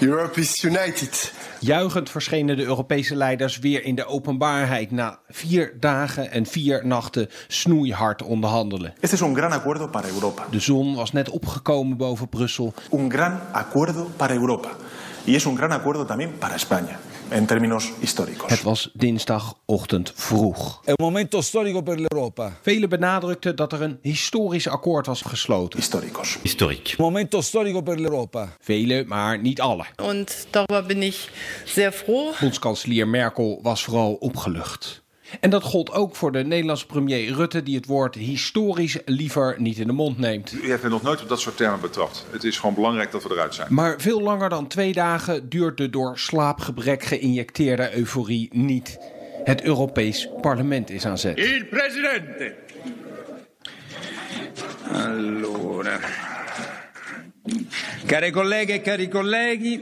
Europe is united. Juichend verschenen de Europese leiders weer in de openbaarheid na vier dagen en vier nachten snoeihard onderhandelen. Este es un gran acuerdo para Europa. De zon was net opgekomen boven Brussel. Un gran acuerdo para Europa. Y es un gran acuerdo también para España, en términos históricos. Het was dinsdagochtend vroeg. È un momento storico per l'Europa, un Velen benadrukten dat er een historisch akkoord was gesloten. Históricos. historique. momento storico per l'Europa. Velen, maar niet alle. Und darüber bin ich sehr froh. Bondskanselier Merkel was vooral opgelucht. En dat gold ook voor de Nederlandse premier Rutte, die het woord historisch liever niet in de mond neemt. U heeft me nog nooit op dat soort termen betrapt. Het is gewoon belangrijk dat we eruit zijn. Maar veel langer dan twee dagen duurt de door slaapgebrek geïnjecteerde euforie niet. Het Europees Parlement is aan zet. Il presidente. Allora. Care colleghe e cari colleghi,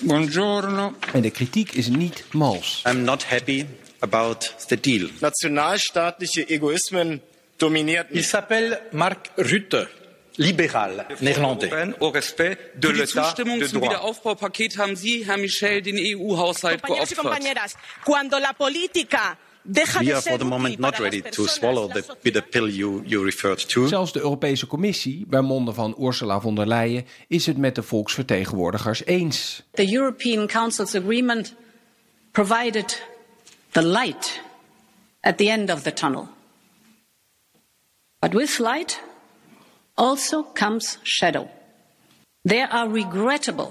buongiorno. En de kritiek is niet mals. I'm not happy about the deal. Nationalstaatliche Egoismen dominiert Il s'appelle Mark Rutte, libéral néerlandais. Au respect de l'état de droit. Aufbaupaket haben Sie, Herr Michel, den EU-Haushalt cuando la política deja We are for the moment not ready to swallow the bitter pill you, you referred to. Zelfs de Europese Commissie, bij monden van Ursula von der Leyen, is het met de volksvertegenwoordigers eens. The European Council's agreement provided the light at the end of the tunnel. But with light also comes shadow. There are regrettable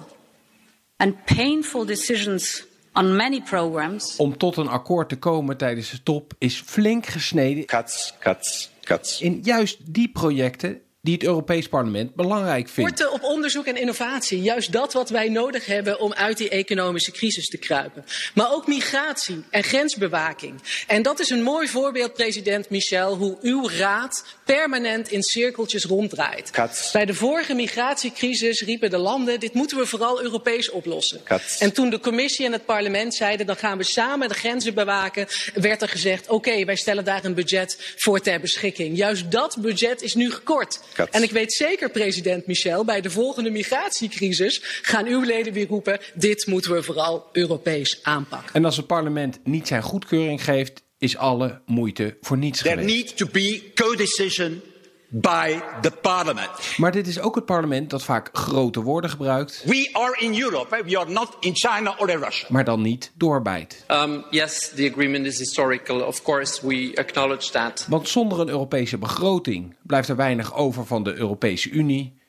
and painful decisions on many programs. Om tot een akkoord te komen tijdens de top is flink gesneden Cuts, cuts, cuts. in juist die projecten die het Europees Parlement belangrijk vindt. op onderzoek en innovatie. Juist dat wat wij nodig hebben om uit die economische crisis te kruipen. Maar ook migratie en grensbewaking. En dat is een mooi voorbeeld, president Michel, hoe uw raad permanent in cirkeltjes ronddraait. Cuts. Bij de vorige migratiecrisis riepen de landen, dit moeten we vooral Europees oplossen. Cuts. En toen de commissie en het parlement zeiden, dan gaan we samen de grenzen bewaken, werd er gezegd, oké, wij stellen daar een budget voor ter beschikking. Juist dat budget is nu gekort. Cuts. En ik weet zeker, president Michel, bij de volgende migratiecrisis gaan uw leden weer roepen, dit moeten we vooral Europees aanpakken. En als het parlement niet zijn goedkeuring geeft, is alle moeite voor niets There geweest. needs to be co-decision by the parliament. Maar dit is ook het parlement dat vaak grote woorden gebruikt, We are in Europe, eh? we are not in China or in Russia. maar dan niet doorbijt. Um, yes, the agreement is historical. Of course, we acknowledge that. Want zonder een Europese begroting blijft er weinig over van de Europese Unie.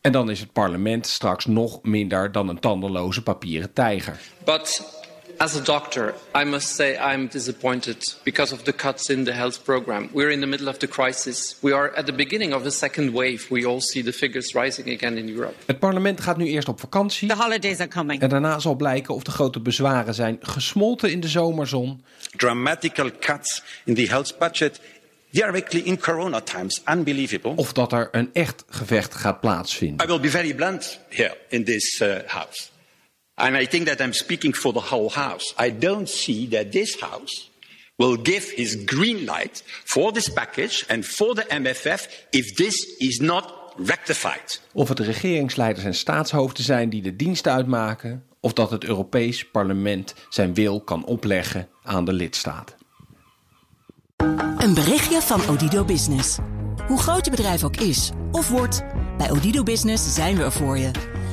En dan is het parlement straks nog minder dan een tandenloze papieren tijger. But as a doctor, I must say I'm disappointed because of the cuts in the health program. We're in the middle of the crisis. We are at the beginning of the second wave. We all see the figures rising again in Europe. Het parlement gaat nu eerst op vakantie. holidays are coming. En daarna zal blijken of de grote bezwaren zijn gesmolten in de zomerzon. Dramatical cuts in the health budget directly in corona times. Unbelievable. Of dat er een echt gevecht gaat plaatsvinden. I will be very blunt here in this uh, house. And I think that I'm speaking for the whole house. I don't see that this house will give his green light for this package and for the MFF if this is not rectified. Of het regeringsleiders en staatshoofden zijn die de diensten uitmaken. Of dat het Europees parlement zijn wil kan opleggen aan de lidstaten. Een berichtje van Odido Business. Hoe groot je bedrijf ook is of wordt, bij Odido Business zijn we er voor je.